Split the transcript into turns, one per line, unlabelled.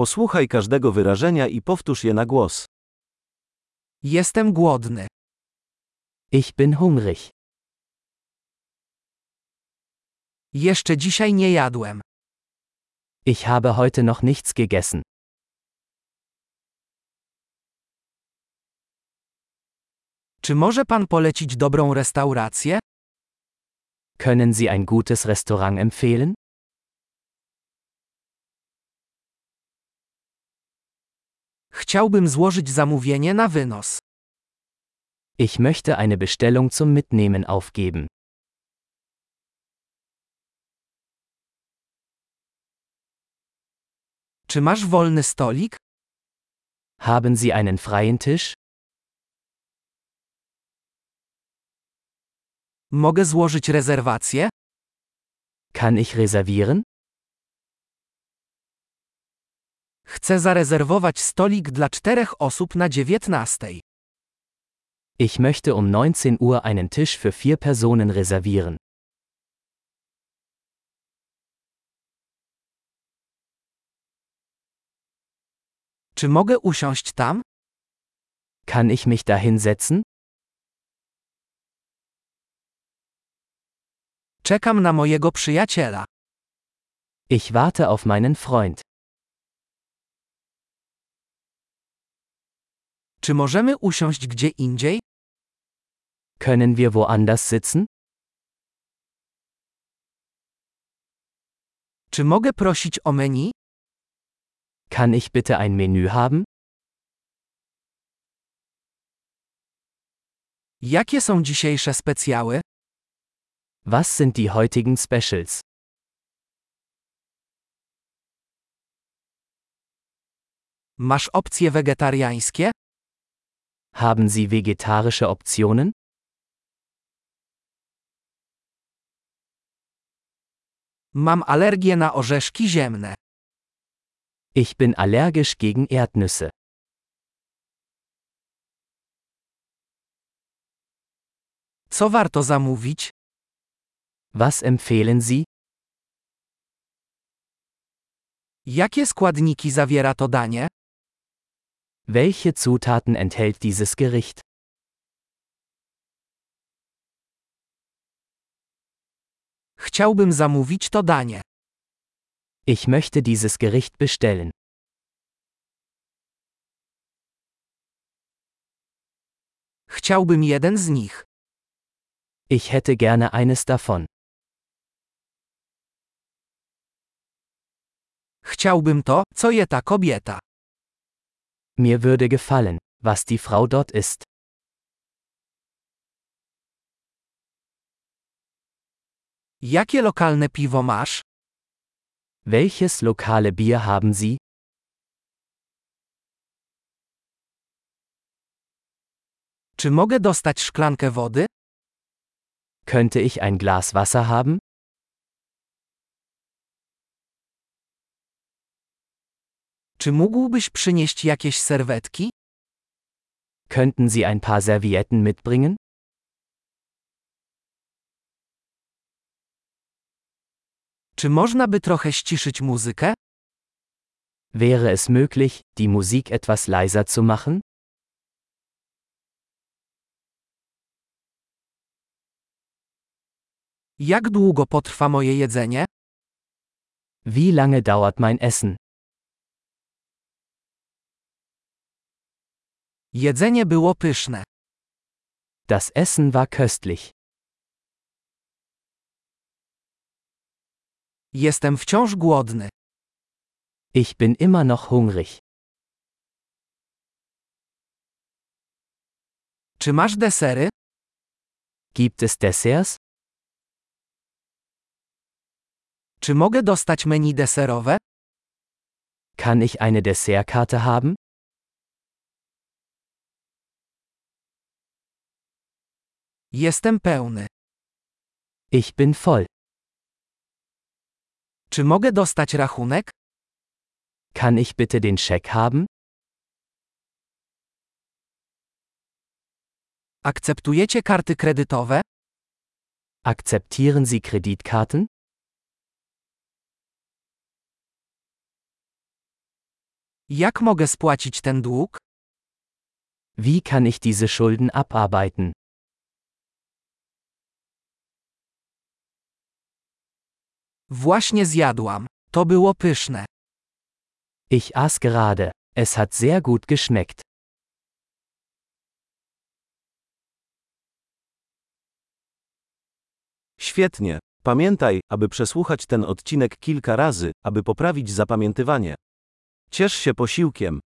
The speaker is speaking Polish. Posłuchaj każdego wyrażenia i powtórz je na głos.
Jestem głodny.
Ich bin hungrig.
Jeszcze dzisiaj nie jadłem.
Ich habe heute noch nichts gegessen.
Czy może pan polecić dobrą restaurację?
Können Sie ein gutes Restaurant empfehlen?
Chciałbym złożyć zamówienie na wynos.
Ich möchte eine Bestellung zum Mitnehmen aufgeben.
Czy masz wolny stolik?
Haben Sie einen freien Tisch?
Mogę złożyć rezerwację?
Kann ich reservieren?
Chcę zarezerwować stolik dla czterech osób na 19.
Ich möchte um 19 Uhr einen Tisch für vier Personen reservieren.
Czy mogę usiąść tam?
Kann ich mich da hinsetzen?
Czekam na mojego przyjaciela.
Ich warte auf meinen Freund.
Czy możemy usiąść gdzie indziej?
Können wir woanders sitzen?
Czy mogę prosić o menu?
Kann ich bitte ein Menü haben?
Jakie są dzisiejsze specjały?
Was sind die heutigen Specials?
Masz opcje wegetariańskie?
Haben Sie vegetarische Optionen?
Mam alergię na orzeszki ziemne.
Ich bin allergisch gegen Erdnüsse.
Co warto zamówić?
Was empfehlen Sie?
Jakie składniki zawiera to danie?
Welche Zutaten enthält dieses Gericht?
Chciałbym zamówić to danie.
Ich möchte dieses Gericht bestellen.
Chciałbym jeden z nich.
Ich hätte gerne eines davon.
Chciałbym to, co je ta kobieta.
Mir würde gefallen, was die Frau dort isst.
Jakie lokalne piwo masz?
Welches lokale Bier haben Sie?
Czy mogę dostać szklankę wody?
Könnte ich ein Glas Wasser haben?
Czy mógłbyś przynieść jakieś serwetki?
Könnten Sie ein paar Servietten mitbringen?
Czy można by trochę ściszyć muzykę?
Wäre es möglich, die Musik etwas leiser zu machen?
Jak długo potrwa moje jedzenie?
Wie lange dauert mein Essen?
Jedzenie było pyszne.
Das Essen war köstlich.
Jestem wciąż głodny.
Ich bin immer noch hungrig.
Czy masz desery?
Gibt es Desserts?
Czy mogę dostać menu deserowe?
Kann ich eine Dessertkarte haben?
Jestem pełny.
Ich bin voll.
Czy mogę dostać rachunek?
Kann ich bitte den Scheck haben?
Akceptujecie karty kredytowe?
Akzeptieren Sie Kreditkarten?
Jak mogę spłacić ten dług?
Wie kann ich diese Schulden abarbeiten?
Właśnie zjadłam. To było pyszne.
Ich aß gerade. Es hat sehr gut geschmeckt.
Świetnie. Pamiętaj, aby przesłuchać ten odcinek kilka razy, aby poprawić zapamiętywanie. Ciesz się posiłkiem.